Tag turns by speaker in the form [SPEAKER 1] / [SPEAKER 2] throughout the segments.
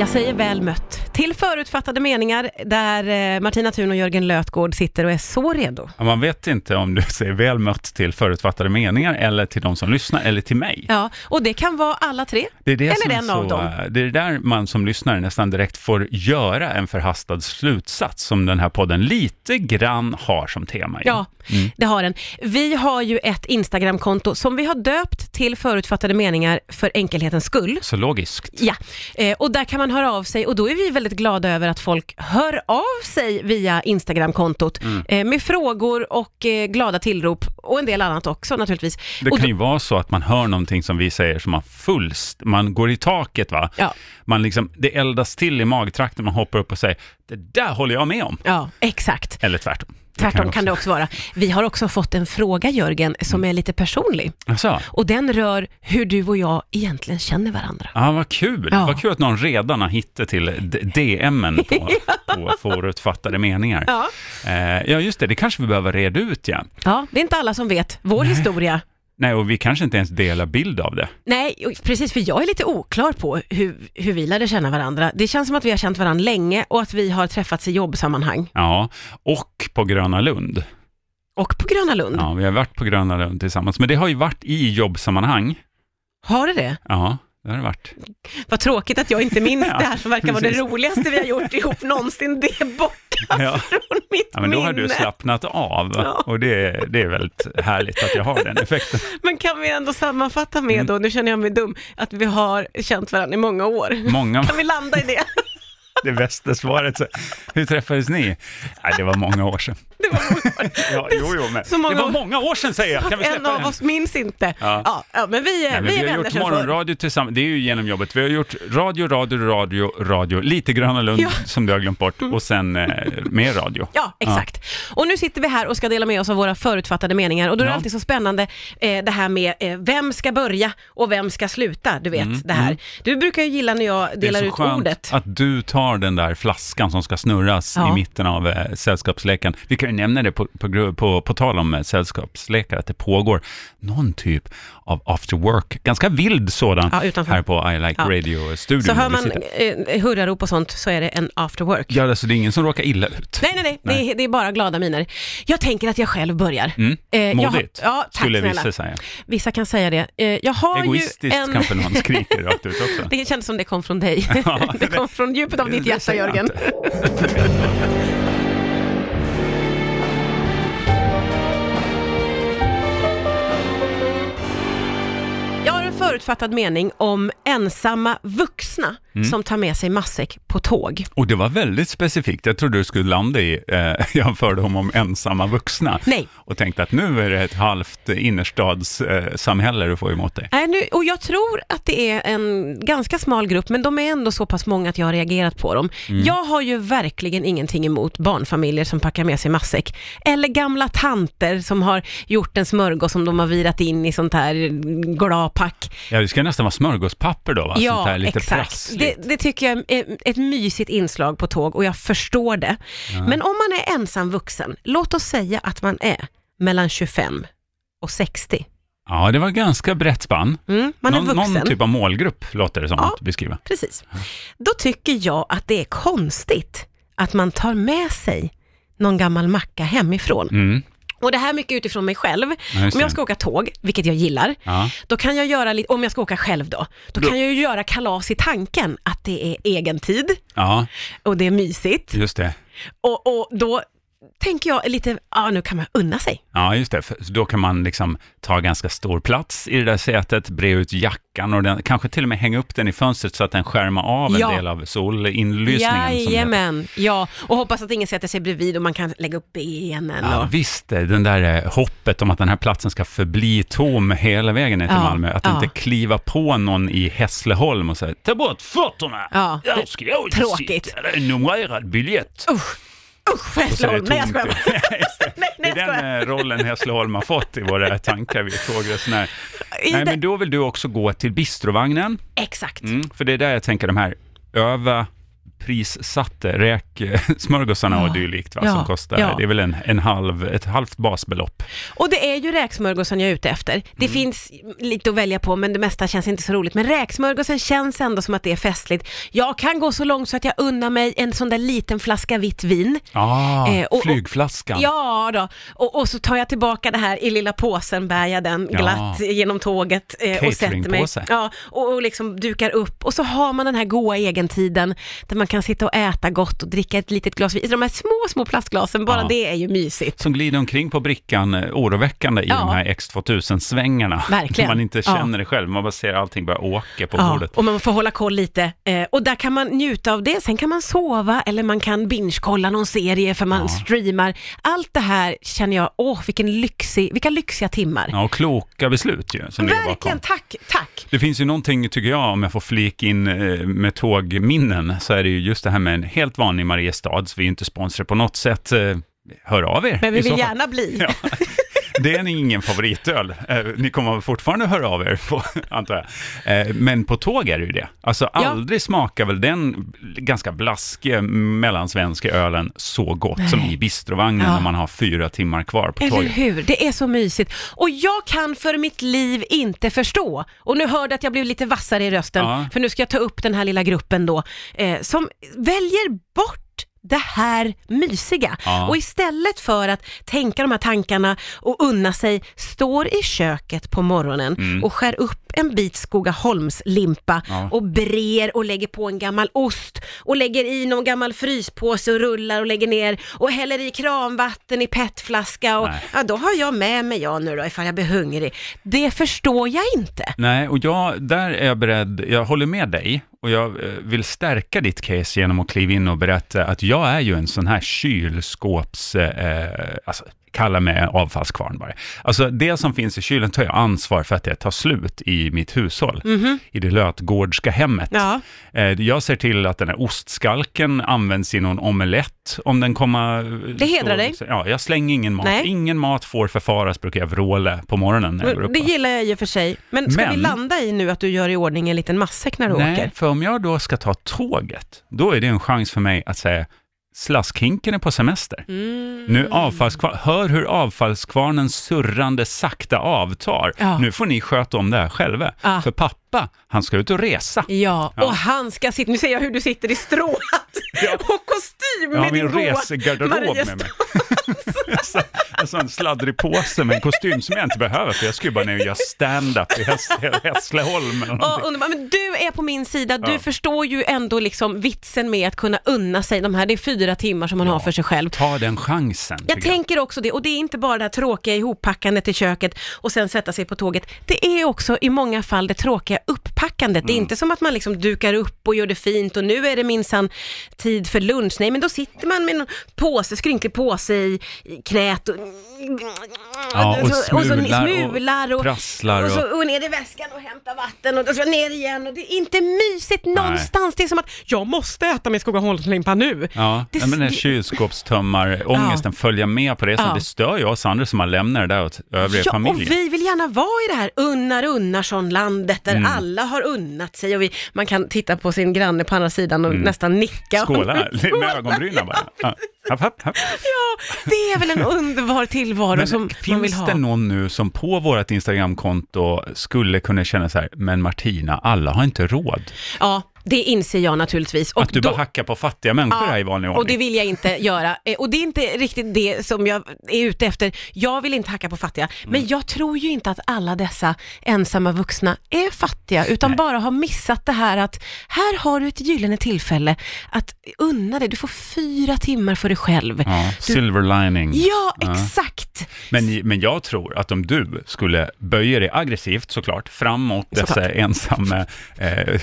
[SPEAKER 1] Jag säger väl mött till förutfattade meningar där eh, Martina Thun och Jörgen Lötgård sitter och är så redo.
[SPEAKER 2] Ja, Man vet inte om du säger väl mött till förutfattade meningar eller till de som lyssnar eller till mig.
[SPEAKER 1] Ja, och det kan vara alla tre.
[SPEAKER 2] Det är det,
[SPEAKER 1] Eller
[SPEAKER 2] som
[SPEAKER 1] en
[SPEAKER 2] så, eh,
[SPEAKER 1] av dem.
[SPEAKER 2] det är det där man som lyssnare nästan direkt får göra en förhastad slutsats som den här podden lite grann har som tema. ju.
[SPEAKER 1] Ja,
[SPEAKER 2] Mm.
[SPEAKER 1] det har den. Vi har ju ett Instagramkonto som vi har döpt till förutfattade meningar för enkelhetens skull.
[SPEAKER 2] Så logiskt.
[SPEAKER 1] Ja, eh, och där kan man höra av sig och då är vi väldigt glada över att folk hör av sig via Instagramkontot
[SPEAKER 2] Mm.
[SPEAKER 1] eh, med frågor och eh, glada tillrop och en del annat också naturligtvis.
[SPEAKER 2] Det
[SPEAKER 1] och
[SPEAKER 2] kan ju vara så att man hör någonting som vi säger som man fullst, man går i taket va?
[SPEAKER 1] Ja.
[SPEAKER 2] Man liksom, det eldas till i magtrakten, man hoppar upp och säger det där håller jag med om.
[SPEAKER 1] Ja, exakt.
[SPEAKER 2] Eller tvärtom.
[SPEAKER 1] Tvärtom kan det också vara. Vi har också fått en fråga Jörgen, som
[SPEAKER 2] Mm.
[SPEAKER 1] är lite personlig.
[SPEAKER 2] Alltså,
[SPEAKER 1] Och den rör hur du och jag egentligen känner varandra.
[SPEAKER 2] ja, vad kul.
[SPEAKER 1] Ja.
[SPEAKER 2] Vad kul att någon redan har hittat till d- DMen på, på förutfattade meningar.
[SPEAKER 1] Ja.
[SPEAKER 2] Eh, ja, just det, det kanske vi behöver reda ut ja.
[SPEAKER 1] Ja, det är inte alla som vet vår historia.
[SPEAKER 2] Nej, och vi kanske inte ens delar bild av det.
[SPEAKER 1] Nej, och precis, för jag är lite oklar på hur, hur vi lärde känna varandra. Det känns som att vi har känt varandra länge och att vi har träffats i jobbsammanhang.
[SPEAKER 2] Ja, och på Gröna Lund.
[SPEAKER 1] Och på Gröna Lund.
[SPEAKER 2] Ja, vi har varit på Gröna Lund tillsammans, men det har ju varit i jobbsammanhang.
[SPEAKER 1] Har du det?
[SPEAKER 2] Ja, det har det varit.
[SPEAKER 1] Vad tråkigt att jag inte minns
[SPEAKER 2] Ja,
[SPEAKER 1] det här som verkar vara det
[SPEAKER 2] precis.
[SPEAKER 1] roligaste vi har gjort ihop någonsin. Det är borta
[SPEAKER 2] Ja.
[SPEAKER 1] från mitt
[SPEAKER 2] Ja, men då
[SPEAKER 1] minne.
[SPEAKER 2] har du slappnat av
[SPEAKER 1] Ja.
[SPEAKER 2] och det, det är väldigt härligt att jag har den effekten.
[SPEAKER 1] Men kan vi ändå sammanfatta
[SPEAKER 2] Mm.
[SPEAKER 1] med då, nu känner jag mig dum, att vi har känt varandra i många år.
[SPEAKER 2] Många
[SPEAKER 1] Kan vi landa i det?
[SPEAKER 2] det bästa svaret. Så, hur träffades ni? Ja, det var många år sedan.
[SPEAKER 1] Det var,
[SPEAKER 2] Ja, jo, jo, men,
[SPEAKER 1] Så många
[SPEAKER 2] det var
[SPEAKER 1] år.
[SPEAKER 2] många år sedan säger jag. Kan vi
[SPEAKER 1] en
[SPEAKER 2] släppa
[SPEAKER 1] av
[SPEAKER 2] den?
[SPEAKER 1] oss minns inte.
[SPEAKER 2] Ja.
[SPEAKER 1] Ja. Ja, men vi är,
[SPEAKER 2] Nej, men
[SPEAKER 1] vi är
[SPEAKER 2] vi har
[SPEAKER 1] vänner
[SPEAKER 2] gjort
[SPEAKER 1] sedan förr.
[SPEAKER 2] morgonradio tillsammans, det är ju genom jobbet. Vi har gjort radio, radio, radio, radio, lite Gröna Lund
[SPEAKER 1] Ja. Mm.
[SPEAKER 2] som du har glömt bort och sen eh, mer radio.
[SPEAKER 1] Ja, exakt. Och nu sitter vi här och ska dela med oss av våra förutfattade meningar och då är det
[SPEAKER 2] Ja.
[SPEAKER 1] alltid så spännande eh, det här med eh, vem ska börja och vem ska sluta, du vet det här. Du brukar ju gilla när jag delar
[SPEAKER 2] Mm, det är så
[SPEAKER 1] ut
[SPEAKER 2] skönt
[SPEAKER 1] ordet.
[SPEAKER 2] att du tar den där flaskan som ska snurras
[SPEAKER 1] Ja.
[SPEAKER 2] i mitten av eh, sällskapsleken. Vi kan ju nämna det på, på, gru- på, på tal om eh, sällskapslekar, att det pågår någon typ av after work, ganska vild sådan,
[SPEAKER 1] Ja, utanför.
[SPEAKER 2] här på I Like
[SPEAKER 1] Ja.
[SPEAKER 2] Radio-studion.
[SPEAKER 1] Så hör
[SPEAKER 2] där vi
[SPEAKER 1] man
[SPEAKER 2] sitter.
[SPEAKER 1] eh, hurrarop och sånt så är det en after work.
[SPEAKER 2] Ja, alltså det är ingen som råkar illa ut.
[SPEAKER 1] Nej, nej, nej. Det, är, det är bara glada miner. Jag tänker att jag själv börjar. Eh, jag har-
[SPEAKER 2] Mm. Modigt,
[SPEAKER 1] ja, tack
[SPEAKER 2] skulle
[SPEAKER 1] snälla.
[SPEAKER 2] vissa säga.
[SPEAKER 1] Vissa kan säga det. Eh, jag har ju
[SPEAKER 2] Egoistiskt
[SPEAKER 1] en...
[SPEAKER 2] kanske någon skriker rakt ut också.
[SPEAKER 1] Det kändes som det kom från dig.
[SPEAKER 2] Ja,
[SPEAKER 1] det kom från djupet av ditt
[SPEAKER 2] Det
[SPEAKER 1] hjärta,
[SPEAKER 2] säger jag
[SPEAKER 1] Jörgen.
[SPEAKER 2] inte.
[SPEAKER 1] Jag har en förutfattad mening om ensamma vuxna
[SPEAKER 2] Mm.
[SPEAKER 1] som tar med sig matsäck på tåg.
[SPEAKER 2] Och det var väldigt specifikt. Jag trodde du skulle landa i, eh, jag fördom om ensamma vuxna.
[SPEAKER 1] Nej.
[SPEAKER 2] Och tänkte att nu är det ett halvt innerstadssamhälle eh, samhälle du får emot dig.
[SPEAKER 1] Nej, nu, och jag tror att det är en ganska smal grupp, men de är ändå så pass många att jag har reagerat på dem.
[SPEAKER 2] Mm.
[SPEAKER 1] Jag har ju verkligen ingenting emot barnfamiljer som packar med sig matsäck, eller gamla tanter som har gjort en smörgås som de har virat in i sånt här glapack.
[SPEAKER 2] Ja, det ska nästan vara smörgåspapper då, va? Sånt här lite prassligt.
[SPEAKER 1] Det, det tycker jag är ett mysigt inslag på tåg och jag förstår det. Men om man är ensam vuxen, låt oss säga att man är mellan 25 och 60.
[SPEAKER 2] Ja, det var ganska brett spann.
[SPEAKER 1] Mm, man är
[SPEAKER 2] Någon,
[SPEAKER 1] vuxen.
[SPEAKER 2] någon typ av målgrupp låter det som
[SPEAKER 1] Ja.
[SPEAKER 2] att beskriva.
[SPEAKER 1] Precis. Då tycker jag att det är konstigt att man tar med sig någon gammal macka hemifrån.
[SPEAKER 2] Mm.
[SPEAKER 1] Och det här är mycket utifrån mig själv.
[SPEAKER 2] Ja, just
[SPEAKER 1] om jag
[SPEAKER 2] det.
[SPEAKER 1] ska åka tåg, vilket jag gillar,
[SPEAKER 2] Ja.
[SPEAKER 1] då kan jag göra lite, om jag ska åka själv då, då
[SPEAKER 2] Då-
[SPEAKER 1] kan jag ju göra kalas i tanken att det är egen tid
[SPEAKER 2] ja,
[SPEAKER 1] och det är mysigt.
[SPEAKER 2] just det.
[SPEAKER 1] Och, och då tänker jag lite, ja nu kan man unna sig.
[SPEAKER 2] Ja, just det. För då kan man liksom ta ganska stor plats i det där sätet, bre ut jackan och den, kanske till och med hänga upp den i fönstret så att den skärmar av en
[SPEAKER 1] Ja.
[SPEAKER 2] del av solinlysningen. som det heter.
[SPEAKER 1] Jajamän, ja. Och hoppas att ingen sätter sig bredvid och man kan lägga upp benen.
[SPEAKER 2] Ja,
[SPEAKER 1] och...
[SPEAKER 2] visst, eh, den där eh, hoppet om att den här platsen ska förbli tom hela vägen ner till
[SPEAKER 1] Ja,
[SPEAKER 2] Malmö. Att
[SPEAKER 1] ja.
[SPEAKER 2] inte kliva på någon i Hässleholm och säga ta bort fötterna.
[SPEAKER 1] Ja, det-
[SPEAKER 2] Där ska jag ju
[SPEAKER 1] tråkigt.
[SPEAKER 2] sitta. Det är en numrerad biljett.
[SPEAKER 1] Usch, usch vad
[SPEAKER 2] Och så är det
[SPEAKER 1] Hässleholm. Nej jag
[SPEAKER 2] tomt.
[SPEAKER 1] skojar. Nej,
[SPEAKER 2] Det
[SPEAKER 1] nej
[SPEAKER 2] är
[SPEAKER 1] jag skojar.
[SPEAKER 2] den eh, rollen Hässleholm har fått i våra tankar vid tågresenärer.
[SPEAKER 1] I
[SPEAKER 2] Nej,
[SPEAKER 1] det-
[SPEAKER 2] men då vill du också gå till bistrovagnen.
[SPEAKER 1] Exakt.
[SPEAKER 2] Mm, för det är där jag tänker de här över prissatte räksmörgåsarna
[SPEAKER 1] Ja.
[SPEAKER 2] och dylikt, va,
[SPEAKER 1] Ja.
[SPEAKER 2] som kostar,
[SPEAKER 1] Ja.
[SPEAKER 2] det är väl en, en halv, ett halvt basbelopp.
[SPEAKER 1] Och det är ju räksmörgåsen jag är ute efter. Det
[SPEAKER 2] Mm.
[SPEAKER 1] finns lite att välja på men det mesta känns inte så roligt. Men räksmörgåsen känns ändå som att det är festligt. Jag kan gå så långt så att jag unnar mig en sån där liten flaska vitt vin.
[SPEAKER 2] Ah,
[SPEAKER 1] Eh, och- och-
[SPEAKER 2] flygflaskan.
[SPEAKER 1] Ja då, och, och så tar jag tillbaka det här i lilla påsen, bär jag den
[SPEAKER 2] Ja.
[SPEAKER 1] glatt genom tåget eh, och sätter mig.
[SPEAKER 2] Cateringpåse.
[SPEAKER 1] Ja, och, och liksom dukar upp. Och så har man den här goa egentiden där man kan sitta och äta gott och dricka ett litet glas vin. De här små, små plastglasen, bara
[SPEAKER 2] Ja.
[SPEAKER 1] det är ju mysigt.
[SPEAKER 2] Som glider omkring på brickan eh, oroväckande i
[SPEAKER 1] Ja.
[SPEAKER 2] de här X2000-svängarna.
[SPEAKER 1] Verkligen.
[SPEAKER 2] Man inte
[SPEAKER 1] Ja.
[SPEAKER 2] känner det själv, man bara ser allting bara åka på
[SPEAKER 1] Ja,
[SPEAKER 2] bordet.
[SPEAKER 1] och man får hålla koll lite. Eh, och där kan man njuta av det. Sen kan man sova eller man kan binge-kolla någon serie för man
[SPEAKER 2] Ja.
[SPEAKER 1] streamar. Allt det här känner jag, åh vilken lyxig, vilka lyxiga timmar.
[SPEAKER 2] Ja, och kloka beslut ju, som ligger bakom.
[SPEAKER 1] Verkligen, tack, tack.
[SPEAKER 2] Det finns ju någonting, tycker jag, om jag får flika in eh, med tågminnen, så är det ju just det här med en helt vanlig Mariestad, så vi är ju inte sponsrade på något sätt. Eh, Hör av er.
[SPEAKER 1] Men
[SPEAKER 2] i
[SPEAKER 1] vi
[SPEAKER 2] så
[SPEAKER 1] vill
[SPEAKER 2] fall.
[SPEAKER 1] gärna bli.
[SPEAKER 2] Ja. Det är ingen favoritöl. Eh, Ni kommer fortfarande höra av er, på, antar jag. Eh, Men på tåg är det ju det. Alltså aldrig smakar väl den ganska blaskiga mellansvenska ölen så gott som
[SPEAKER 1] Nej.
[SPEAKER 2] i bistrovagnen
[SPEAKER 1] Ja.
[SPEAKER 2] när man har fyra timmar kvar på
[SPEAKER 1] Eller
[SPEAKER 2] tåget.
[SPEAKER 1] hur? Det är så mysigt. Och jag kan för mitt liv inte förstå, och nu hörde jag att jag blev lite vassare i rösten,
[SPEAKER 2] Ja.
[SPEAKER 1] för nu ska jag ta upp den här lilla gruppen då, eh, som väljer bort det här mysiga.
[SPEAKER 2] Ja.
[SPEAKER 1] Och istället för att tänka de här tankarna och unna sig, står i köket på morgonen och skär upp en bit Skogaholmslimpa
[SPEAKER 2] Mm. Ja.
[SPEAKER 1] och brer och lägger på en gammal ost och lägger i någon gammal fryspåse och rullar och lägger ner och häller i kranvatten i petflaska och
[SPEAKER 2] Nej.
[SPEAKER 1] ja, då har jag med mig jag nu då ifall jag blir hungrig. Det förstår jag inte.
[SPEAKER 2] Nej, och jag, där är jag beredd, jag håller med dig och jag eh, vill stärka ditt case genom att kliva in och berätta att jag är ju en sån här kylskåps, eh, alltså, kalla mig avfallskvarn bara. Alltså det som finns i kylen tar jag ansvar för att det tar slut i mitt hushåll, i det lötgårdska hemmet.
[SPEAKER 1] Mhm. Ja.
[SPEAKER 2] Eh, jag ser till att den här ostskalken används i någon omelett om den kommer...
[SPEAKER 1] Det hedrar dig.
[SPEAKER 2] Ja, jag slänger ingen mat.
[SPEAKER 1] Nej.
[SPEAKER 2] Ingen mat får förfaras, brukar jag vråla på morgonen när jag går upp.
[SPEAKER 1] Det gillar jag ju för sig. Men ska
[SPEAKER 2] Men-
[SPEAKER 1] vi landa i nu att du gör i ordning en liten matsäck när du
[SPEAKER 2] Nej,
[SPEAKER 1] åker?
[SPEAKER 2] för om jag då ska ta tåget, då är det en chans för mig att säga slaskhinken är på semester.
[SPEAKER 1] Mm.
[SPEAKER 2] Nu avfallskvar- hör hur avfallskvarnen surrande sakta avtar.
[SPEAKER 1] Ja.
[SPEAKER 2] Nu får ni sköta om det här själva.
[SPEAKER 1] Ja.
[SPEAKER 2] För pappa, han ska ut och resa.
[SPEAKER 1] Ja, och han ska sitta, nu ser jag hur du sitter i strået och kostym
[SPEAKER 2] Jag har
[SPEAKER 1] med
[SPEAKER 2] min
[SPEAKER 1] din goa
[SPEAKER 2] resegarderob med mig. Så- En sån sladdrig påse med en kostym som jag inte behöver, för jag ska ju bara ner och göra stand-up i Häss- Hässleholm eller
[SPEAKER 1] Ja,
[SPEAKER 2] någonting.
[SPEAKER 1] underbart. Men du är på min sida. Du
[SPEAKER 2] Ja.
[SPEAKER 1] förstår ju ändå liksom vitsen med att kunna unna sig de här, det är fyra timmar som man har för sig själv.
[SPEAKER 2] Ta den chansen.
[SPEAKER 1] Jag
[SPEAKER 2] tycker jag.
[SPEAKER 1] tänker också det, och det är inte bara det här tråkiga ihoppackandet i köket och sen sätta sig på tåget. Det är också i många fall det tråkiga upppackandet.
[SPEAKER 2] Mm.
[SPEAKER 1] Det är inte som att man liksom dukar upp och gör det fint och nu är det minsann tid för lunch. Nej, men då sitter man med en påse, skrynklig påse i i knät och,
[SPEAKER 2] Ja, och
[SPEAKER 1] så- så
[SPEAKER 2] smular och
[SPEAKER 1] smular och,
[SPEAKER 2] prasslar
[SPEAKER 1] och, så,
[SPEAKER 2] och-
[SPEAKER 1] och ner i väskan och hämta vatten och, och så ner igen. Och det är inte mysigt någonstans. Det är som att jag måste äta min Skogaholmslimpa nu.
[SPEAKER 2] Ja,
[SPEAKER 1] Det-
[SPEAKER 2] det, men den här kylskåpstömmarångesten, följa med på resan,
[SPEAKER 1] Ja.
[SPEAKER 2] det stör ju oss andra som har lämnat det där åt övriga familjen.
[SPEAKER 1] och vi vill gärna vara i det här unnar Unnarsson-landet där
[SPEAKER 2] Mm.
[SPEAKER 1] alla har unnat sig och vi, man kan titta på sin granne på andra sidan och nästan nicka.
[SPEAKER 2] Mm. Skåla med ögonbrynen bara. Ja. Happ, happ, happ.
[SPEAKER 1] Ja, det är väl en underbar tillvaro
[SPEAKER 2] Men
[SPEAKER 1] som man vill
[SPEAKER 2] finns
[SPEAKER 1] ha.
[SPEAKER 2] det någon nu som på vårt Instagramkonto skulle kunna känna så här, men Martina, alla har inte råd.
[SPEAKER 1] Ja, det inser jag naturligtvis. Och
[SPEAKER 2] Att du
[SPEAKER 1] då-
[SPEAKER 2] bara hackar på fattiga människor här i vanlig
[SPEAKER 1] och det
[SPEAKER 2] ordning.
[SPEAKER 1] vill jag inte göra. Eh, Och det är inte riktigt det som jag är ute efter. Jag vill inte hacka på fattiga,
[SPEAKER 2] Mm.
[SPEAKER 1] men jag tror ju inte att alla dessa ensamma vuxna är fattiga, utan bara har missat det här att här har du ett gyllene tillfälle att unna dig. Du får fyra timmar för dig själv.
[SPEAKER 2] Ja, silver lining.
[SPEAKER 1] Ja, exakt.
[SPEAKER 2] Men, men jag tror att om du skulle böja dig aggressivt såklart, framåt dessa ensamma eh,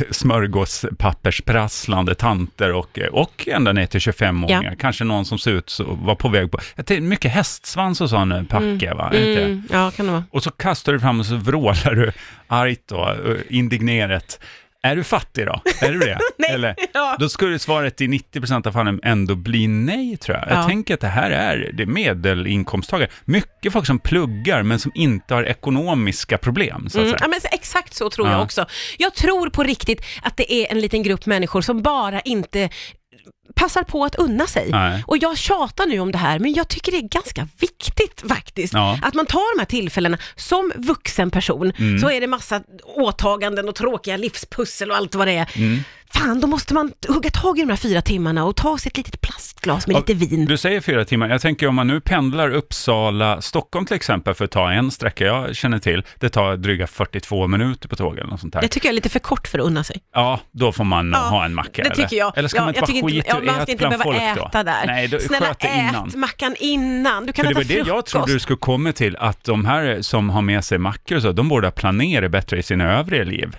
[SPEAKER 2] smörgåspappersprasslande tanter och, eh, och ända ner till 25-åringar, kanske någon som ser ut och var på väg på, jag tänkte, mycket hästsvans och sån eh, packe va? Är det inte?
[SPEAKER 1] Mm, ja, kan det vara.
[SPEAKER 2] Och så kastar du fram och så vrålar du argt och eh, indignerat. Är du fattig då? Är du det?
[SPEAKER 1] Nej,
[SPEAKER 2] Eller,
[SPEAKER 1] ja.
[SPEAKER 2] Då skulle svaret i 90% av fallen ändå bli nej, tror jag. Jag
[SPEAKER 1] Ja.
[SPEAKER 2] tänker att det här är det är medelinkomsttagare. Mycket folk som pluggar, men som inte har ekonomiska problem, så att
[SPEAKER 1] Mm,
[SPEAKER 2] säga.
[SPEAKER 1] ja, men så- exakt så tror
[SPEAKER 2] Ja.
[SPEAKER 1] jag också. Jag tror på riktigt att det är en liten grupp människor som bara inte passar på att unna sig.
[SPEAKER 2] Nej.
[SPEAKER 1] Och jag tjatar nu om det här, men jag tycker det är ganska viktigt faktiskt.
[SPEAKER 2] Ja. Mm.
[SPEAKER 1] Att man tar de här tillfällena som vuxen person, så är det massa åtaganden och tråkiga livspussel och allt vad det är.
[SPEAKER 2] Mm.
[SPEAKER 1] Fan, då måste man hugga tag i de här fyra timmarna och ta sig ett litet plastglas med lite vin.
[SPEAKER 2] Du säger fyra timmar. Jag tänker om man nu pendlar Uppsala, Stockholm till exempel, för att ta en sträcka jag känner till. Det tar dryga 42 minuter på tåget eller något sånt där.
[SPEAKER 1] Det tycker jag är lite för kort för att unna sig.
[SPEAKER 2] Ja, då får man nog
[SPEAKER 1] Ja,
[SPEAKER 2] ha en macka.
[SPEAKER 1] Det
[SPEAKER 2] eller?
[SPEAKER 1] tycker jag.
[SPEAKER 2] Eller ska
[SPEAKER 1] ja,
[SPEAKER 2] man inte
[SPEAKER 1] jag
[SPEAKER 2] bara
[SPEAKER 1] tycker
[SPEAKER 2] skita
[SPEAKER 1] ja,
[SPEAKER 2] i
[SPEAKER 1] man
[SPEAKER 2] att
[SPEAKER 1] ska inte behöva
[SPEAKER 2] bland folk
[SPEAKER 1] äta
[SPEAKER 2] då?
[SPEAKER 1] där.
[SPEAKER 2] Nej, då,
[SPEAKER 1] Snälla
[SPEAKER 2] sköt det innan.
[SPEAKER 1] ät mackan innan. Du kan
[SPEAKER 2] För
[SPEAKER 1] äta
[SPEAKER 2] det var det
[SPEAKER 1] frukost.
[SPEAKER 2] jag trodde du skulle komma till, att de här som har med sig mackor och så, de borde ha planerat bättre i sina övriga liv.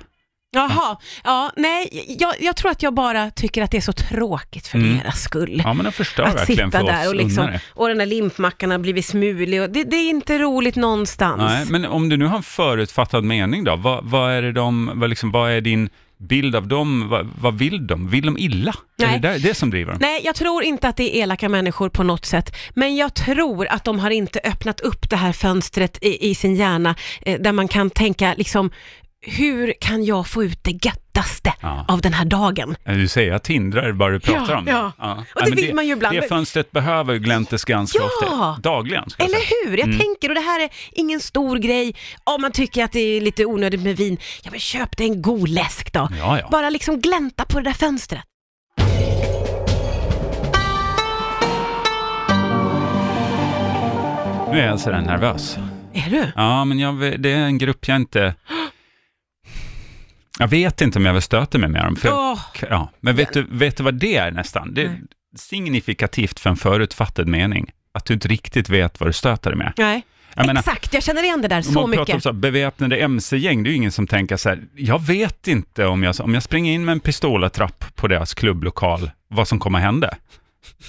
[SPEAKER 1] Jaha, ja, nej, jag, jag tror att jag bara tycker att det är så tråkigt för
[SPEAKER 2] Mm.
[SPEAKER 1] deras skull.
[SPEAKER 2] Ja, men de förstör
[SPEAKER 1] att
[SPEAKER 2] verkligen
[SPEAKER 1] sitta
[SPEAKER 2] för oss
[SPEAKER 1] där och, liksom,
[SPEAKER 2] unnare.
[SPEAKER 1] och den där limpmackan har blivit smulig och det, det är inte roligt någonstans.
[SPEAKER 2] Nej, men om du nu har en förutfattad mening då, vad, vad är det de, vad, liksom, vad är din bild av dem, vad, vad vill de? Vill de illa?
[SPEAKER 1] Nej.
[SPEAKER 2] Är det där, det som driver dem?
[SPEAKER 1] Nej, jag tror inte att det är elaka människor på något sätt, men jag tror att de har inte öppnat upp det här fönstret i, i sin hjärna eh, där man kan tänka liksom, hur kan jag få ut det göttaste
[SPEAKER 2] Ja.
[SPEAKER 1] av den här dagen?
[SPEAKER 2] Du säger att hindrar bara du pratar
[SPEAKER 1] Ja,
[SPEAKER 2] om det.
[SPEAKER 1] ja. Och det
[SPEAKER 2] men
[SPEAKER 1] vill man ju ibland.
[SPEAKER 2] Det fönstret behöver gläntes ganska
[SPEAKER 1] Ja.
[SPEAKER 2] ofta, dagligen. Ska jag Mm. säga.
[SPEAKER 1] Eller hur? Jag tänker, och det här är ingen stor grej. Om man tycker att det är lite onödigt med vin, ja men köp dig en god läsk då.
[SPEAKER 2] Ja, ja.
[SPEAKER 1] Bara liksom glänta på det där fönstret.
[SPEAKER 2] Nu är jag sådär nervös.
[SPEAKER 1] Är du?
[SPEAKER 2] Ja, men jag, vill- det är en grupp jag inte... Jag vet inte om jag vill stöta mig med dem. För
[SPEAKER 1] Åh.
[SPEAKER 2] ja. Men vet du, vet du vad det är nästan? Det är
[SPEAKER 1] Nej.
[SPEAKER 2] signifikativt för en förutfattad mening. Att du inte riktigt vet vad du stöter dig med.
[SPEAKER 1] Nej.
[SPEAKER 2] Jag menar,
[SPEAKER 1] Exakt, jag känner igen det där
[SPEAKER 2] om
[SPEAKER 1] så
[SPEAKER 2] man pratar om
[SPEAKER 1] mycket.
[SPEAKER 2] så här, beväpnade mc-gäng, det är ju ingen som tänker så här, jag vet inte om jag, om jag springer in med en pistolattrapp på deras klubblokal, vad som kommer hända.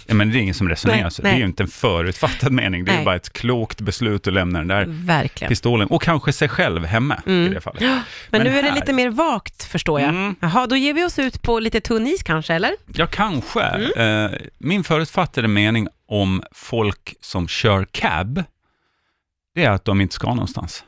[SPEAKER 2] Ja, men det är ingen som resonerar
[SPEAKER 1] Nej,
[SPEAKER 2] så. Det
[SPEAKER 1] nej.
[SPEAKER 2] är ju inte en förutfattad mening, det är
[SPEAKER 1] Nej.
[SPEAKER 2] ju
[SPEAKER 1] Mm.
[SPEAKER 2] bara ett klokt beslut att lämna den där
[SPEAKER 1] Verkligen.
[SPEAKER 2] pistolen och kanske sig själv hemma i det fallet. Men,
[SPEAKER 1] Mm. Men, nu är det
[SPEAKER 2] här-
[SPEAKER 1] lite mer vagt förstår jag.
[SPEAKER 2] Mm.
[SPEAKER 1] Jaha, då ger vi oss ut på lite tunn is kanske, eller?
[SPEAKER 2] Ja, kanske.
[SPEAKER 1] Mm.
[SPEAKER 2] Eh, min förutfattade mening om folk som kör cab, det är att de inte ska någonstans.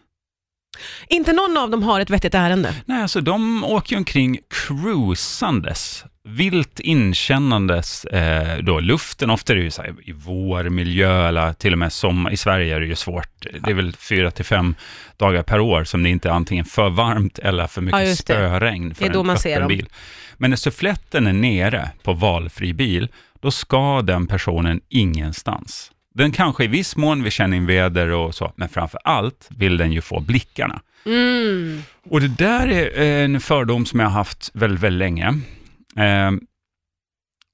[SPEAKER 1] Inte någon av dem har ett vettigt ärende.
[SPEAKER 2] Nej, alltså de åker ju omkring cruisandes, vilt inkännandes eh, då luften. Ofta är det ju så här, i vår miljö eller till och med sommar. I Sverige är det ju svårt. Det är väl fyra till fem dagar per år som det inte är antingen för varmt eller för mycket
[SPEAKER 1] Ja, just det.
[SPEAKER 2] spöregn för
[SPEAKER 1] Det är då
[SPEAKER 2] en
[SPEAKER 1] man
[SPEAKER 2] öppen
[SPEAKER 1] ser dem.
[SPEAKER 2] bil. Men när suffletten är nere på valfri bil, då ska den personen ingenstans. Den kanske i viss mån vill känna in väder och så, men framför allt vill den ju få blickarna. Och det där är en fördom som jag har haft väldigt, väldigt länge. Eh,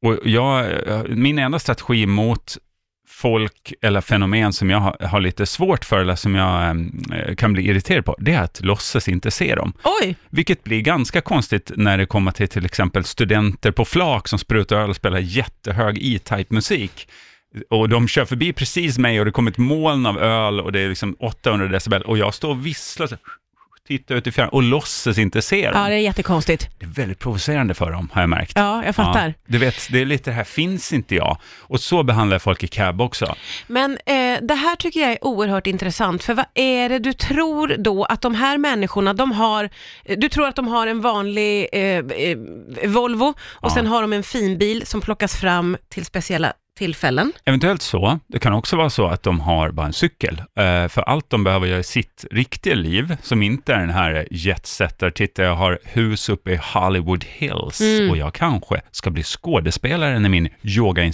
[SPEAKER 2] och jag, eh, min enda strategi mot folk eller fenomen som jag har, har lite svårt för eller som jag eh, kan bli irriterad på, det är att låtsas inte se dem.
[SPEAKER 1] Oj,
[SPEAKER 2] Vilket blir ganska konstigt när det kommer till till exempel studenter på flak som sprutar öl och spelar jättehög E-Type-musik. Och de kör förbi precis mig och det kommer ett moln av öl och det är liksom 800 decibel och jag står och visslar, så här, tittar ut i fjärran och låtsas inte se dem.
[SPEAKER 1] ja det är jättekonstigt.
[SPEAKER 2] Det är väldigt provocerande för dem, har jag märkt.
[SPEAKER 1] Ja, jag fattar.
[SPEAKER 2] Ja, du vet, det är lite det här, finns inte jag? Och så behandlar jag folk i cab också.
[SPEAKER 1] Men eh, det här tycker jag är oerhört intressant, för vad är det du tror då att de här människorna, de har, eh, du tror att de har en vanlig eh, eh, Volvo och
[SPEAKER 2] Ja.
[SPEAKER 1] sen har de en fin bil som plockas fram till speciella tillfällen.
[SPEAKER 2] Eventuellt så. Det kan också vara så att de har bara en cykel. Eh, för allt de behöver göra i sitt riktiga liv, som inte är den här jetsetter, titta jag har hus uppe i Hollywood Hills
[SPEAKER 1] Mm.
[SPEAKER 2] och jag kanske ska bli skådespelare när min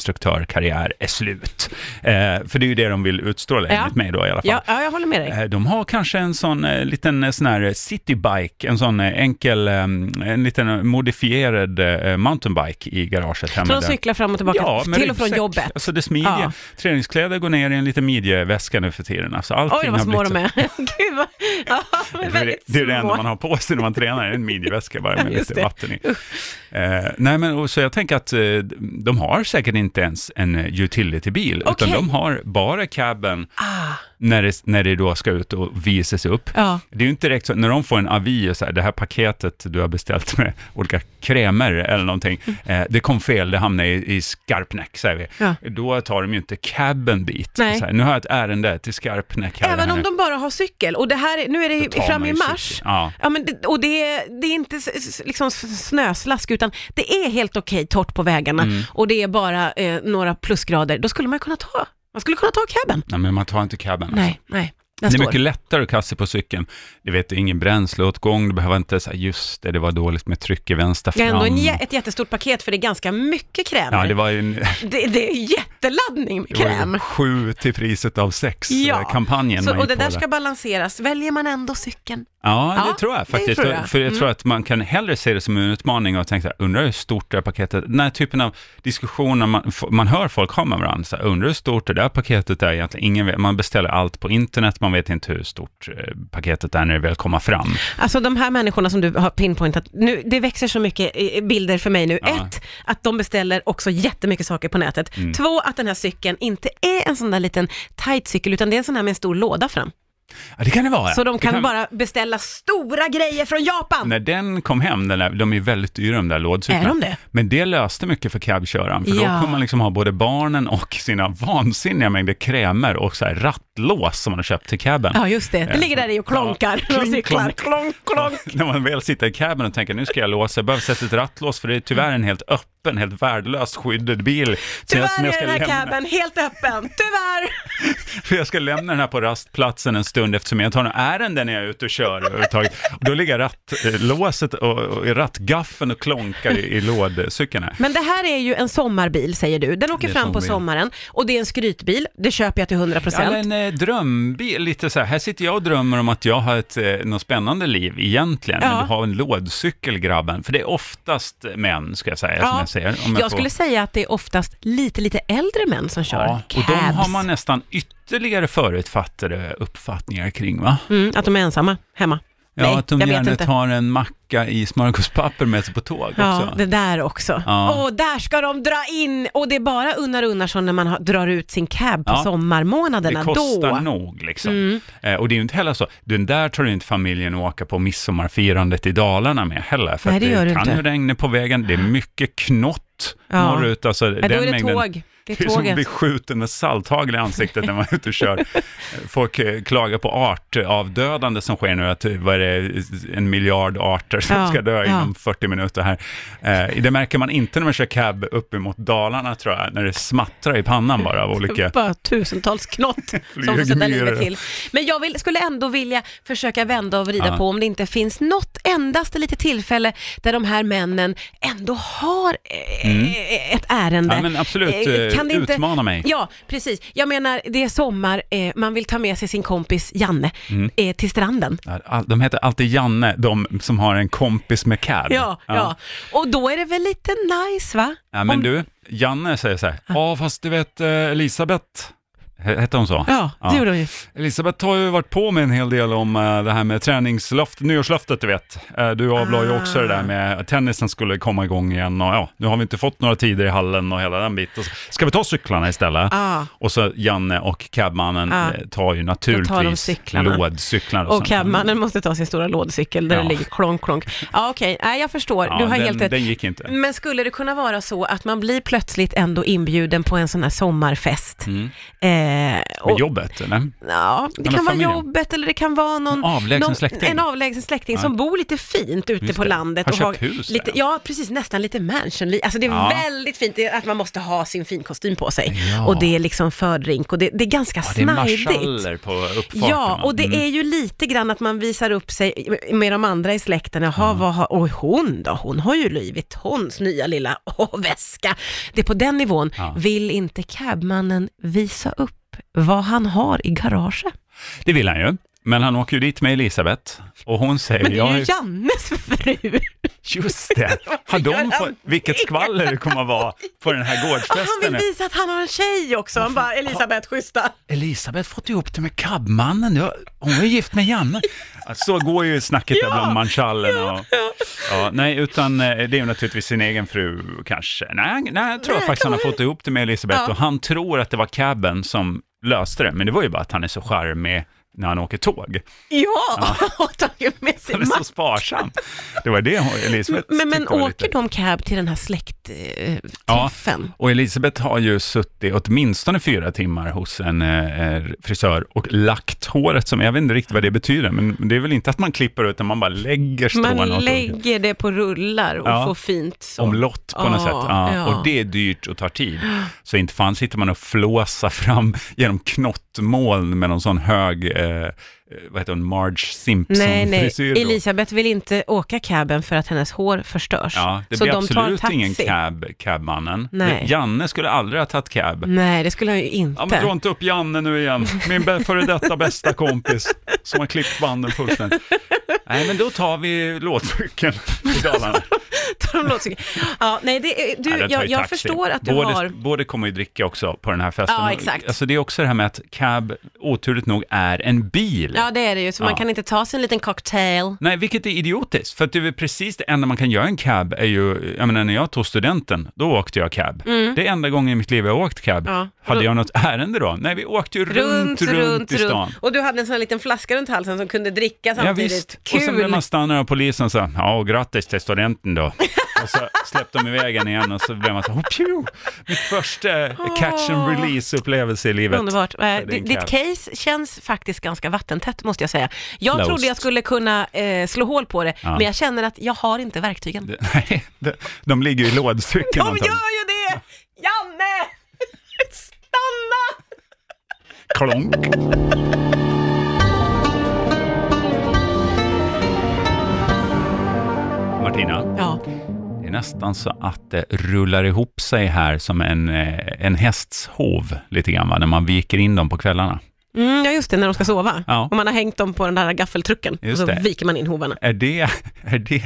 [SPEAKER 2] yogainstruktörkarriär är slut. Eh, för det är ju det de vill utstråla,
[SPEAKER 1] Ja.
[SPEAKER 2] enligt mig då i alla fall.
[SPEAKER 1] Ja, ja, jag håller med dig.
[SPEAKER 2] Eh, De har kanske en sån eh, liten eh, sån här eh, citybike, en sån eh, enkel, eh, en liten modifierad eh, mountainbike i garaget hemma.
[SPEAKER 1] Så de
[SPEAKER 2] där.
[SPEAKER 1] cyklar fram och tillbaka
[SPEAKER 2] med
[SPEAKER 1] till och från
[SPEAKER 2] ryggsäck.
[SPEAKER 1] jobbet.
[SPEAKER 2] Alltså det smidiga.
[SPEAKER 1] Ja.
[SPEAKER 2] Träningskläder går ner i en liten midjeväska nu för tiden. Alltså allting
[SPEAKER 1] Oj, vad
[SPEAKER 2] har
[SPEAKER 1] små
[SPEAKER 2] blivit
[SPEAKER 1] de
[SPEAKER 2] så-
[SPEAKER 1] är. Gud, vad, ja, de är
[SPEAKER 2] Det är det,
[SPEAKER 1] väldigt
[SPEAKER 2] det är det
[SPEAKER 1] små.
[SPEAKER 2] enda man har på sig när man tränar, en midjeväska bara med
[SPEAKER 1] Just
[SPEAKER 2] lite
[SPEAKER 1] det.
[SPEAKER 2] vatten i. Eh, nej men, och, så jag tänker att eh, de har säkert inte ens en eh, utilitybil, utan
[SPEAKER 1] Okej.
[SPEAKER 2] de har bara cabben
[SPEAKER 1] Ah,
[SPEAKER 2] när det, när det då ska ut och visas upp.
[SPEAKER 1] ja.
[SPEAKER 2] Det är ju inte direkt så, när de får en avi och så här, det här paketet du har beställt med olika krämer eller någonting, eh, det kom fel, det hamnade i, i skarpnäck, säger vi.
[SPEAKER 1] Mm. Ja.
[SPEAKER 2] då tar de ju inte cabben dit. Så
[SPEAKER 1] Nej.
[SPEAKER 2] här, nu har jag ett ärende till Skarpnäck. här,
[SPEAKER 1] Även
[SPEAKER 2] här.
[SPEAKER 1] om de bara har cykel och det här, nu är det
[SPEAKER 2] Då tar
[SPEAKER 1] ju fram
[SPEAKER 2] man
[SPEAKER 1] i
[SPEAKER 2] ju
[SPEAKER 1] mars.
[SPEAKER 2] cykeln. Ja.
[SPEAKER 1] Ja, men det, och det, är- det är inte s- s- liksom s- snöslask utan det är helt okej torrt på vägarna
[SPEAKER 2] Mm.
[SPEAKER 1] och det är bara eh, några plusgrader. Då skulle man ju kunna ta, man skulle kunna ta cabben.
[SPEAKER 2] Nej, men man tar inte cabben. alltså.
[SPEAKER 1] Nej, nej. Den
[SPEAKER 2] Det är
[SPEAKER 1] står.
[SPEAKER 2] mycket lättare att kasta på cykeln. Du vet, det är ingen bränsleåtgång, du behöver inte säga just det, det var dåligt med tryck i vänster
[SPEAKER 1] Det är
[SPEAKER 2] fram.
[SPEAKER 1] ändå en, jä- ett jättestort paket för det är ganska mycket kräm.
[SPEAKER 2] Ja, det
[SPEAKER 1] det,
[SPEAKER 2] var ju en,
[SPEAKER 1] det, är jätteladdning med
[SPEAKER 2] det var ju
[SPEAKER 1] kräm.
[SPEAKER 2] sju till priset av
[SPEAKER 1] Ja.
[SPEAKER 2] sex-kampanjen
[SPEAKER 1] Så,
[SPEAKER 2] man gick
[SPEAKER 1] och det
[SPEAKER 2] på
[SPEAKER 1] där ska balanseras. Väljer man ändå cykeln?
[SPEAKER 2] Ja, det
[SPEAKER 1] Ja,
[SPEAKER 2] tror jag
[SPEAKER 1] det
[SPEAKER 2] faktiskt.
[SPEAKER 1] tror jag.
[SPEAKER 2] För jag
[SPEAKER 1] Mm.
[SPEAKER 2] tror att man kan hellre se det som en utmaning och tänka, så här, undrar hur stort det här paketet Den här typen av diskussioner man, f- man hör folk ha med varandra, så här, undrar hur stort det där paketet är egentligen. Ingen vet, man beställer allt på internet, man vet inte hur stort eh, paketet är när det väl kommer fram.
[SPEAKER 1] Alltså de här människorna som du har pinpointat, nu, det växer så mycket eh, bilder för mig nu.
[SPEAKER 2] Ja.
[SPEAKER 1] Ett, att de beställer också jättemycket saker på nätet.
[SPEAKER 2] Mm.
[SPEAKER 1] Två, att den här cykeln inte är en sån där liten tight cykel, utan det är en sån här med en stor låda fram.
[SPEAKER 2] Ja, det kan det vara.
[SPEAKER 1] Så de
[SPEAKER 2] Det
[SPEAKER 1] kan, bara beställa stora grejer från Japan.
[SPEAKER 2] När den kom hem, den där, de är ju väldigt dyra de där lådcyklarna.
[SPEAKER 1] Är de det?
[SPEAKER 2] Men det löste mycket för cabköraren, för då
[SPEAKER 1] Ja.
[SPEAKER 2] kunde man liksom ha både barnen och sina vansinniga mängder krämer och så här rattlås som man har köpt till caben.
[SPEAKER 1] Ja, just det. Det ligger där i och klonkar.
[SPEAKER 2] Ja,
[SPEAKER 1] och cyklar.
[SPEAKER 2] klonk, När man väl sitter i caben och tänker nu ska jag låsa, jag behöver sätta ett rattlås för det är tyvärr en helt öppen, helt värdelöst skyddad bil. Så jag,
[SPEAKER 1] Tyvärr
[SPEAKER 2] som jag,
[SPEAKER 1] är
[SPEAKER 2] ska
[SPEAKER 1] den här
[SPEAKER 2] lämna,
[SPEAKER 1] cabben helt öppen. Tyvärr.
[SPEAKER 2] för jag ska lämna den här på rastplatsen en stund eftersom jag tar några ärenden när jag är ute och kör överhuvudtaget. Och Då ligger rattlåset och, och rattgaffeln och klonkar i, i lådcykeln här.
[SPEAKER 1] Men det här är ju en sommarbil säger du. Den åker
[SPEAKER 2] Det är
[SPEAKER 1] fram på
[SPEAKER 2] sommarbil.
[SPEAKER 1] sommaren och det är en skrytbil. Det köper jag till 100
[SPEAKER 2] Ja,
[SPEAKER 1] procent.
[SPEAKER 2] en eh, drömbil, lite så här, här sitter jag och drömmer om att jag har ett eh, något spännande liv egentligen,
[SPEAKER 1] Ja.
[SPEAKER 2] men du har en lådcykel grabben, för det är oftast män ska jag säga, som
[SPEAKER 1] Ja.
[SPEAKER 2] jag säger. Om
[SPEAKER 1] Jag,
[SPEAKER 2] får-
[SPEAKER 1] skulle säga att det är oftast lite, lite äldre män som kör
[SPEAKER 2] Ja, och
[SPEAKER 1] cabs.
[SPEAKER 2] de har man nästan ytterligare förutfattade uppfattningar kring va?
[SPEAKER 1] mm, att de är ensamma hemma.
[SPEAKER 2] Ja,
[SPEAKER 1] Nej,
[SPEAKER 2] att de
[SPEAKER 1] jag vet
[SPEAKER 2] gärna
[SPEAKER 1] inte.
[SPEAKER 2] tar en macka i smörgåspapper med sig på tåg
[SPEAKER 1] Ja,
[SPEAKER 2] också.
[SPEAKER 1] det där också.
[SPEAKER 2] Ja.
[SPEAKER 1] Och där ska de dra in! Och det är bara Unnar Unnarsson när man har, drar ut sin cab på
[SPEAKER 2] Ja.
[SPEAKER 1] sommarmånaderna.
[SPEAKER 2] Det kostar
[SPEAKER 1] Då. Mm.
[SPEAKER 2] nog liksom. Eh, och det är ju inte heller så, den där tar ju inte familjen och åka på midsommarfirandet i Dalarna med heller. För
[SPEAKER 1] Nej,
[SPEAKER 2] att
[SPEAKER 1] det gör
[SPEAKER 2] det
[SPEAKER 1] du
[SPEAKER 2] kan
[SPEAKER 1] inte.
[SPEAKER 2] ju regna på vägen, det är mycket knott
[SPEAKER 1] Ja.
[SPEAKER 2] norrut. Alltså,
[SPEAKER 1] Ja, då
[SPEAKER 2] den
[SPEAKER 1] är det
[SPEAKER 2] mängden,
[SPEAKER 1] tåg. Det
[SPEAKER 2] Det
[SPEAKER 1] är
[SPEAKER 2] är som att bli
[SPEAKER 1] tåget.
[SPEAKER 2] skjuten med salthagel i ansiktet när man är ute och kör. Folk eh, klagar på artavdödande som sker nu, att eh, vad är det, en miljard arter som
[SPEAKER 1] Ja,
[SPEAKER 2] ska dö
[SPEAKER 1] ja.
[SPEAKER 2] inom 40 minuter här. Eh, Det märker man inte när man kör cab uppemot Dalarna tror jag, när det smattrar i pannan bara av olika...
[SPEAKER 1] Bara tusentals knott som får sätta
[SPEAKER 2] Flygmyror.
[SPEAKER 1] livet till. Men jag vill, skulle ändå vilja försöka vända och vrida
[SPEAKER 2] Ja.
[SPEAKER 1] på om det inte finns något endaste litet tillfälle där de här männen ändå har eh, ett ärende.
[SPEAKER 2] Mm. Ja, men absolut,
[SPEAKER 1] Eh,
[SPEAKER 2] eh,
[SPEAKER 1] inte-
[SPEAKER 2] utmana mig.
[SPEAKER 1] Ja, precis. Jag menar, det är sommar, eh, man vill ta med sig sin kompis Janne
[SPEAKER 2] Mm.
[SPEAKER 1] eh, till stranden.
[SPEAKER 2] All- De heter alltid Janne, de som har en kompis med cab.
[SPEAKER 1] Ja, ja. Och då är det väl lite nice va?
[SPEAKER 2] Ja, men
[SPEAKER 1] Om-
[SPEAKER 2] du, Janne säger så här, ja fast du vet eh, Elisabeth, he- hette hon så?
[SPEAKER 1] Ja, det
[SPEAKER 2] Ja.
[SPEAKER 1] gjorde de ju.
[SPEAKER 2] Elisabeth har ju varit på med en hel del om eh, det här med träningslöftet, nyårslöftet du vet. Eh, Du avlade ju också det
[SPEAKER 1] Ah.
[SPEAKER 2] där med att tennisen skulle komma igång igen och ja, nu har vi inte fått några tider i hallen och hela den biten. Ska vi ta cyklarna istället?
[SPEAKER 1] Ja.
[SPEAKER 2] Och så Janne och cabmannen
[SPEAKER 1] Ja.
[SPEAKER 2] eh, tar
[SPEAKER 1] Ah.
[SPEAKER 2] ju
[SPEAKER 1] tar de
[SPEAKER 2] naturligtvis
[SPEAKER 1] cyklarna.
[SPEAKER 2] lådcyklar.
[SPEAKER 1] Och cabmannen måste ta sin stora lådcykel där
[SPEAKER 2] Ja.
[SPEAKER 1] det ligger klonk, klonk. Ja, okej. Nej, jag förstår.
[SPEAKER 2] Ja,
[SPEAKER 1] du har
[SPEAKER 2] den,
[SPEAKER 1] helt rätt.
[SPEAKER 2] den gick inte.
[SPEAKER 1] Men skulle det kunna vara så att man blir plötsligt ändå inbjuden på en sån här sommarfest? Eh,
[SPEAKER 2] Mm. Med
[SPEAKER 1] och,
[SPEAKER 2] jobbet eller?
[SPEAKER 1] ja, det
[SPEAKER 2] Eller
[SPEAKER 1] kan vara
[SPEAKER 2] familjen.
[SPEAKER 1] jobbet eller det kan vara någon
[SPEAKER 2] En avlägsen
[SPEAKER 1] någon,
[SPEAKER 2] släkting.
[SPEAKER 1] En avlägsen släkting som bor lite fint ute
[SPEAKER 2] Just
[SPEAKER 1] på
[SPEAKER 2] det.
[SPEAKER 1] landet.
[SPEAKER 2] Har köpt hus där.
[SPEAKER 1] lite, Ja, precis. Nästan lite mansion Alltså det är
[SPEAKER 2] Ja.
[SPEAKER 1] väldigt fint det är att man måste ha sin finkostym på sig.
[SPEAKER 2] Ja.
[SPEAKER 1] Och det är liksom fördrink och det, det är ganska
[SPEAKER 2] Ja, det är
[SPEAKER 1] snajdigt.
[SPEAKER 2] marschaller på uppfarten.
[SPEAKER 1] Ja,
[SPEAKER 2] va?
[SPEAKER 1] och det
[SPEAKER 2] Mm.
[SPEAKER 1] är ju lite grann att man visar upp sig med de andra i släkten. Jaha,
[SPEAKER 2] Mm.
[SPEAKER 1] vad har, och hon då? Hon har ju Louis Vuittons nya lilla åh, väska. Det är på den nivån.
[SPEAKER 2] Ja.
[SPEAKER 1] Vill inte cabmannen visa upp vad han har i garaget?
[SPEAKER 2] det vill han ju. Men han åker ju dit med Elisabeth och hon säger...
[SPEAKER 1] Men det
[SPEAKER 2] "Jag
[SPEAKER 1] är
[SPEAKER 2] har
[SPEAKER 1] ju Jannes fru.
[SPEAKER 2] Just det. Har
[SPEAKER 1] gör
[SPEAKER 2] de
[SPEAKER 1] han
[SPEAKER 2] fått, vilket skvaller det kommer att vara på den här
[SPEAKER 1] Och han
[SPEAKER 2] gårdsfesten.
[SPEAKER 1] vill
[SPEAKER 2] nu.
[SPEAKER 1] visa att han har en tjej också. Han bara, Elisabeth, schyssta.
[SPEAKER 2] Elisabeth fått ihop det med cabmannen. Ja, Hon är gift med Janne. Ja, Så går ju snacket där bland manchallerna. Och, ja, nej, utan eh, det är ju naturligtvis sin egen fru kanske. Nej, nej jag tror
[SPEAKER 1] Nej,
[SPEAKER 2] faktiskt han har
[SPEAKER 1] kanske.
[SPEAKER 2] fått ihop det med Elisabeth
[SPEAKER 1] Ja.
[SPEAKER 2] och han tror att det var cabben som löste det. Men det var ju bara att han är så charmig när han åker tåg.
[SPEAKER 1] Ja, och tagit med sig
[SPEAKER 2] Han är så
[SPEAKER 1] mask.
[SPEAKER 2] sparsam. Det var det hon- Elisabeth
[SPEAKER 1] Men, men
[SPEAKER 2] tyckte var lite-
[SPEAKER 1] åker de cab till den här släktträffen?
[SPEAKER 2] Och Elisabeth har ju suttit åtminstone fyra timmar hos en eh, frisör och lagt håret, som jag vet inte riktigt vad det betyder, men det är väl inte att man klipper utan man bara lägger strån
[SPEAKER 1] Man
[SPEAKER 2] åt-
[SPEAKER 1] lägger det på rullar och
[SPEAKER 2] Ja.
[SPEAKER 1] får fint så.
[SPEAKER 2] omlott på något
[SPEAKER 1] Ja,
[SPEAKER 2] sätt. Ja.
[SPEAKER 1] ja.
[SPEAKER 2] Och det är dyrt och tar tid. Så inte fan sitter man och flåsar fram genom knottmoln med någon sån hög, eh, eh, vad heter hon, Marge
[SPEAKER 1] Nej, nej.
[SPEAKER 2] Simpson-frisyr. då.
[SPEAKER 1] Elisabeth vill inte åka caben för att hennes hår förstörs.
[SPEAKER 2] Ja, det
[SPEAKER 1] så
[SPEAKER 2] blir
[SPEAKER 1] de tar
[SPEAKER 2] absolut
[SPEAKER 1] taxi.
[SPEAKER 2] ingen cab, cabmannen.
[SPEAKER 1] Nej.
[SPEAKER 2] Janne skulle aldrig ha tagit cab.
[SPEAKER 1] Nej, det skulle han ju
[SPEAKER 2] Ja,
[SPEAKER 1] inte.
[SPEAKER 2] men dra inte upp Janne nu igen, min bä- före detta bästa kompis som har klippt banden fullständigt. Nej, men då tar vi låtburken i Dalarna.
[SPEAKER 1] Tar de låtsas- ja, nej, det, är- du,
[SPEAKER 2] Nej, den tar
[SPEAKER 1] jag,
[SPEAKER 2] ju
[SPEAKER 1] jag
[SPEAKER 2] taxi.
[SPEAKER 1] förstår att du
[SPEAKER 2] både,
[SPEAKER 1] har...
[SPEAKER 2] Både kommer ju dricka också på den här festen.
[SPEAKER 1] Ja, exakt.
[SPEAKER 2] Alltså det är också det här med att cab, oturligt nog, är en bil.
[SPEAKER 1] Ja, det är det ju. Så man
[SPEAKER 2] Ja.
[SPEAKER 1] kan inte ta sig en liten cocktail.
[SPEAKER 2] Nej, vilket är idiotiskt, för att det är väl precis det enda man kan göra i en cab är ju, jag menar när jag tog studenten, då åkte jag cab. Det är enda gången i mitt liv jag har åkt cab.
[SPEAKER 1] Mm. Ja.
[SPEAKER 2] Hade jag något ärende då? Nej, vi åkte ju runt, runt, i stan.
[SPEAKER 1] Och du hade en sån här liten flaska runt halsen som kunde dricka
[SPEAKER 2] Ja,
[SPEAKER 1] samtidigt.
[SPEAKER 2] visst. Och sen
[SPEAKER 1] Kul!
[SPEAKER 2] blev man stannad av polisen och sa, ja, och grattis till studenten då. Och så släppte de iväg en igen och så blev man så, oh, pju! Mitt första catch and release-upplevelse i livet.
[SPEAKER 1] Ah. Underbart. Eh,
[SPEAKER 2] För
[SPEAKER 1] di-
[SPEAKER 2] din
[SPEAKER 1] ditt
[SPEAKER 2] cab.
[SPEAKER 1] case känns faktiskt ganska vattentätt måste jag säga. Jag
[SPEAKER 2] Closed.
[SPEAKER 1] trodde jag skulle kunna eh, slå hål på det,
[SPEAKER 2] Ja.
[SPEAKER 1] men jag känner att jag har inte verktygen.
[SPEAKER 2] Det- Nej, de, de ligger i lådstycken.
[SPEAKER 1] De
[SPEAKER 2] antagligen.
[SPEAKER 1] gör ju det! Janne! Stanna!
[SPEAKER 2] Klonk. Martina,
[SPEAKER 1] Ja,
[SPEAKER 2] det är nästan så att det rullar ihop sig här som en, eh, en hästs hov lite grann, va? när man viker in dem på kvällarna.
[SPEAKER 1] mm, ja just det, när de ska sova.
[SPEAKER 2] Ja.
[SPEAKER 1] Och man har hängt dem på den där gaffeltrucken och
[SPEAKER 2] Just
[SPEAKER 1] så
[SPEAKER 2] det.
[SPEAKER 1] viker man in hovarna.
[SPEAKER 2] Är det, är det,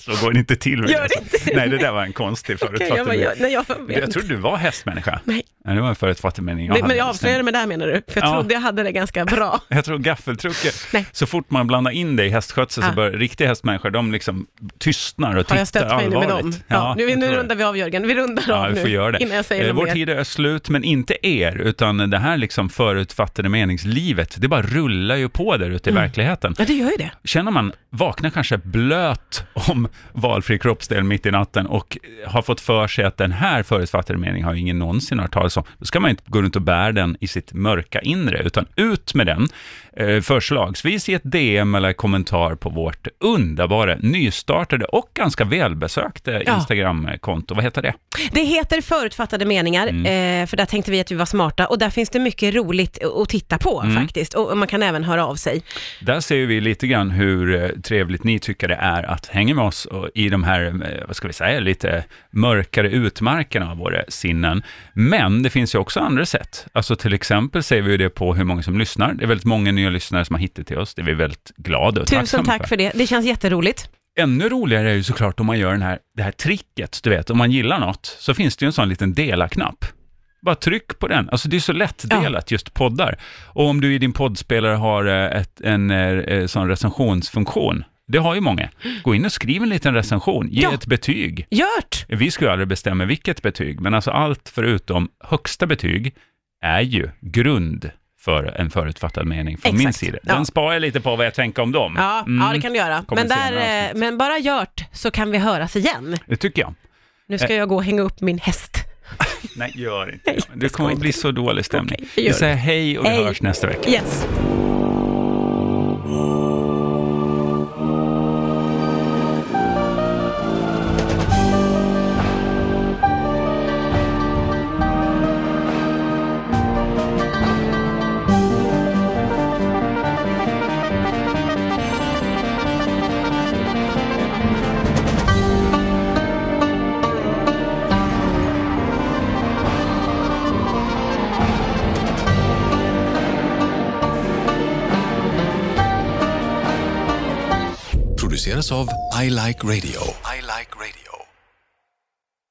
[SPEAKER 2] så går det inte till med
[SPEAKER 1] Gör det inte?
[SPEAKER 2] Nej, det där var en konstig
[SPEAKER 1] Okej,
[SPEAKER 2] förutfattad
[SPEAKER 1] jag, bara-
[SPEAKER 2] mening.
[SPEAKER 1] jag, nej, jag,
[SPEAKER 2] Jag trodde du var hästmänniska.
[SPEAKER 1] Nej.
[SPEAKER 2] det var en förutfattad mening.
[SPEAKER 1] men,
[SPEAKER 2] hade.
[SPEAKER 1] men jag avslöjade mig där menar du, för jag
[SPEAKER 2] Ja.
[SPEAKER 1] trodde jag hade det ganska bra.
[SPEAKER 2] Jag tror gaffeltrucket,
[SPEAKER 1] Nej.
[SPEAKER 2] så fort man blandar in det i hästskötsel
[SPEAKER 1] Ah.
[SPEAKER 2] så börjar riktiga hästmänniskor, de liksom tystnar och
[SPEAKER 1] Har jag
[SPEAKER 2] tittar
[SPEAKER 1] stött mig nu med
[SPEAKER 2] allvarligt.
[SPEAKER 1] dem? Ja, nu
[SPEAKER 2] jag tror
[SPEAKER 1] nu
[SPEAKER 2] det.
[SPEAKER 1] rundar vi av Jörgen, vi rundar
[SPEAKER 2] Ja,
[SPEAKER 1] av
[SPEAKER 2] vi
[SPEAKER 1] nu
[SPEAKER 2] får göra det.
[SPEAKER 1] innan jag säger
[SPEAKER 2] Eh,
[SPEAKER 1] något
[SPEAKER 2] Vår
[SPEAKER 1] mer.
[SPEAKER 2] tid är slut, men inte er, utan det här liksom förutfattade meningslivet, det bara rullar ju på där
[SPEAKER 1] Mm.
[SPEAKER 2] ute i verkligheten.
[SPEAKER 1] Ja, det gör ju det.
[SPEAKER 2] Känner man, vaknar kanske blöt om valfri kroppsdel mitt i natten och har fått för sig att den här förutfattade meningen har ju ingen någonsin hört talas om, då ska man inte gå runt och bära den i sitt mörka inre, utan ut med den, eh, förslagsvis i ett DM eller kommentar på vårt underbara, nystartade och ganska välbesökte
[SPEAKER 1] Ja.
[SPEAKER 2] Instagramkonto. Vad heter det?
[SPEAKER 1] Det heter förutfattade meningar,
[SPEAKER 2] Mm.
[SPEAKER 1] eh, för där tänkte vi att vi var smarta och där finns det mycket roligt att titta på
[SPEAKER 2] Mm.
[SPEAKER 1] faktiskt. Och och man kan även höra av sig.
[SPEAKER 2] Där ser vi lite grann hur eh, trevligt ni tycker det är att hänga med oss och i de här, eh, vad ska vi säga, lite mörkare utmarkerna av våra sinnen. Men det finns ju också andra sätt. Alltså till exempel ser vi ju det på hur många som lyssnar. Det är väldigt många nya lyssnare som har hittat till oss. Det är vi väldigt glada och
[SPEAKER 1] Tusen
[SPEAKER 2] tacksamma
[SPEAKER 1] tack för det, det känns jätteroligt.
[SPEAKER 2] Ännu roligare är ju såklart om man gör den här, det här tricket, du vet, om man gillar något, så finns det ju en sån liten dela-knapp. Bara tryck på den. Alltså det är så lättdelat just poddar. Och om du i din poddspelare har eh, ett, en eh, eh, sån recensionsfunktion, det har ju många. Gå in och skriv en liten recension, ge
[SPEAKER 1] Ja.
[SPEAKER 2] ett betyg.
[SPEAKER 1] Gört!
[SPEAKER 2] Vi skulle ju aldrig bestämma vilket betyg, men alltså allt förutom högsta betyg är ju grund för en förutfattad mening från min
[SPEAKER 1] Exakt.
[SPEAKER 2] sida.
[SPEAKER 1] Ja.
[SPEAKER 2] Den sparar jag lite på vad jag tänker om dem.
[SPEAKER 1] Ja, ja, det kan du göra.
[SPEAKER 2] Mm. Kommer
[SPEAKER 1] Men, där,
[SPEAKER 2] senare
[SPEAKER 1] eh,
[SPEAKER 2] avsnitt.
[SPEAKER 1] men bara gjort så kan vi höras igen.
[SPEAKER 2] Det tycker jag.
[SPEAKER 1] Nu
[SPEAKER 2] Eh.
[SPEAKER 1] ska jag gå och hänga upp min häst.
[SPEAKER 2] Nej, gör inte
[SPEAKER 1] Nej,
[SPEAKER 2] det.
[SPEAKER 1] det
[SPEAKER 2] Det
[SPEAKER 1] ska
[SPEAKER 2] kommer
[SPEAKER 1] inte.
[SPEAKER 2] bli så dålig stämning.
[SPEAKER 1] Okej, vi gör
[SPEAKER 2] vi säger hej och vi
[SPEAKER 1] Hej.
[SPEAKER 2] hörs nästa vecka.
[SPEAKER 1] Yes.
[SPEAKER 3] produceras av I Like Radio